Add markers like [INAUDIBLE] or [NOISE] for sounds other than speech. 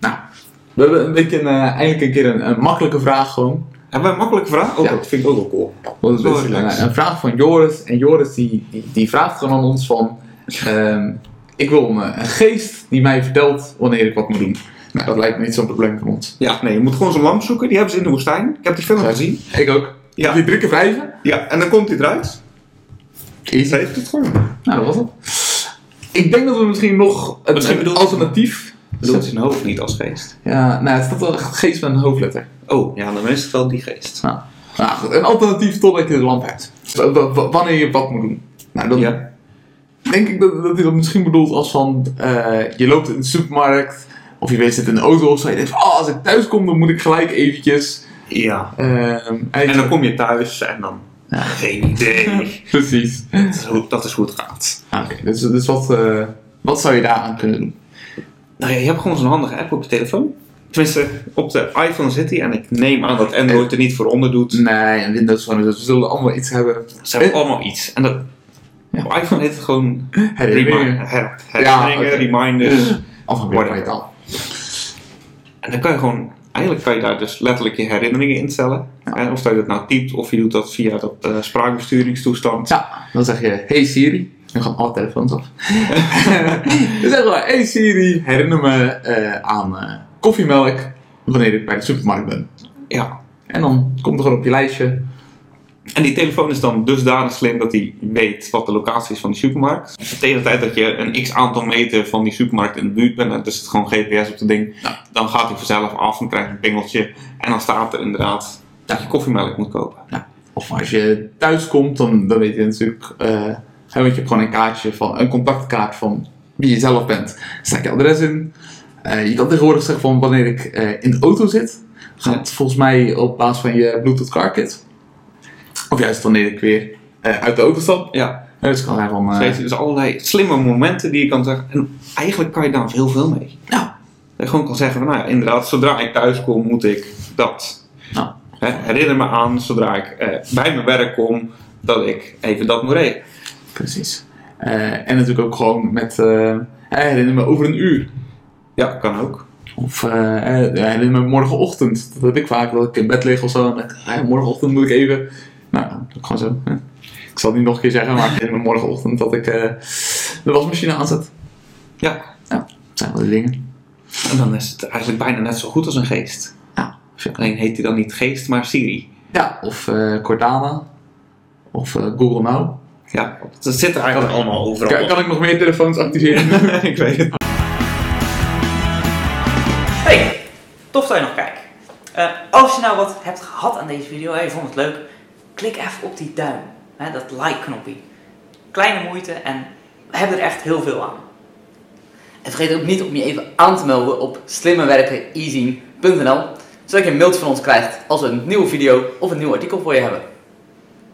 Nou. We hebben een beetje een, eh, eindelijk een keer een, een makkelijke vraag gewoon. Hebben we een makkelijke vraag? Oh, Ja. dat vind ik ook wel cool. Want het is Oh, een, relax. een vraag van Joris. En Joris die, die, die vraagt gewoon aan ons van... ehm, ik wil een, eh, een geest die mij vertelt wanneer ik wat moet doen. Nou, dat lijkt me niet zo'n probleem voor ons. Ja, nee, je moet gewoon zo'n lamp zoeken. Die hebben ze in de woestijn. Ik heb die film Ja. gezien. Ik ook. Ja. Ja. Die drie keer vijven? Ja, en dan komt hij eruit. Ze Easy. heeft het gewoon. Nou, dat was het. Ik denk dat we misschien nog een, Misschien een bedoel- alternatief... Bedoelt zijn hoofd niet als geest? Ja, nou, het staat wel echt geest met een hoofdletter. Oh, ja, dan is het wel die geest. Nou, nou goed, een alternatief totdat je de lamp hebt. W- w- w- wanneer je wat moet doen. Nou, dan Ja. denk ik dat, dat hij dat misschien bedoelt als van... eh, je loopt in de supermarkt... Of je weet zit in de auto of zo. En je denkt van, oh, als ik thuis kom, dan moet ik gelijk eventjes... Ja. ehm, En dan kom je thuis en dan... Geen idee. [LAUGHS] Precies. dat, is hoe, dat is hoe het gaat. Ah, Oké, dus, dus wat, eh, wat zou je daaraan kunnen doen? Nou ja, je hebt gewoon zo'n handige app op je telefoon. Tenminste, op de iPhone zit die. En ik neem aan dat Android er niet voor onder doet. Nee, een Windows Phone, dus we zullen allemaal iets hebben. Eh, Ze hebben allemaal iets. En dat... Op iPhone heet het gewoon... Herinneringen. her- Ja, herinneringen, oké. reminders. dus [LAUGHS] Afhankelijk van je taal. En dan kan je gewoon, eigenlijk kan je daar dus letterlijk je herinneringen instellen. Eh, Of dat je dat nou typt of je doet dat via dat eh, spraakbesturingstoestand. Ja, dan zeg je, hey Siri. Dan gaan alle telefoons af. [LAUGHS] dan zeg je, hey Siri, herinner me eh, aan eh, koffiemelk wanneer ik bij de supermarkt ben. Ja. En dan komt er gewoon op je lijstje. En die telefoon is dan dusdanig slim dat hij weet wat de locatie is van die supermarkt. Tegen de tijd dat je een x aantal meter van die supermarkt in de buurt bent, en dus het gewoon GPS op het ding, Ja. dan gaat hij vanzelf af en krijgt een pingeltje. En dan staat er inderdaad dat je koffiemelk moet kopen. Nou, Of als je thuis komt, dan, dan weet je natuurlijk, eh, hè, want je hebt gewoon een kaartje van, een contactkaart van wie je zelf bent. Daar staat je adres in. Eh, je kan tegenwoordig zeggen van wanneer ik eh, in de auto zit. Gaat Ja. het volgens mij op basis van je Bluetooth car kit. Of juist wanneer ik weer eh, uit de auto stap. Ja, Ja, Dus ik kan daar van. dus weet je, dus allerlei slimme momenten die je kan zeggen. En eigenlijk kan je daar heel veel mee. nou, Dat je gewoon kan zeggen van, nou ja, inderdaad, zodra ik thuis kom, moet ik dat. nou, Hè, herinner me aan, zodra ik eh, bij mijn werk kom, dat ik even dat moet regelen. precies. Eh, en natuurlijk ook gewoon met. eh, herinner me over een uur. Ja, kan ook. Of eh, eh, herinner me morgenochtend. Dat heb ik vaak, dat ik in bed lig of zo. En denk, ik, eh, morgenochtend moet ik even. Nou, dan doe ik gewoon zo. hè. Ik zal het niet nog een keer zeggen, maar ik herinner me morgenochtend dat ik eh, de wasmachine aanzet. Ja, Nou, dat zijn wel die dingen. en dan is het eigenlijk bijna net zo goed als een geest. Ja, of ja. Alleen heet hij dan niet geest, maar Siri. ja of eh, Cortana. Of eh, Google Now. Ja, dat zit er eigenlijk allemaal overal. Kan, kan ik nog meer telefoons activeren? ik weet het. Hey, tof dat je nog kijkt. Eh, als je nou wat hebt gehad aan deze video en je vond het leuk, klik even op die duim, hè, dat like-knopje. Kleine moeite en we hebben er echt heel veel aan. En vergeet ook niet om je even aan te melden op slimmewerkeneasy.nl, zodat je een mailtje van ons krijgt als we een nieuwe video of een nieuw artikel voor je hebben.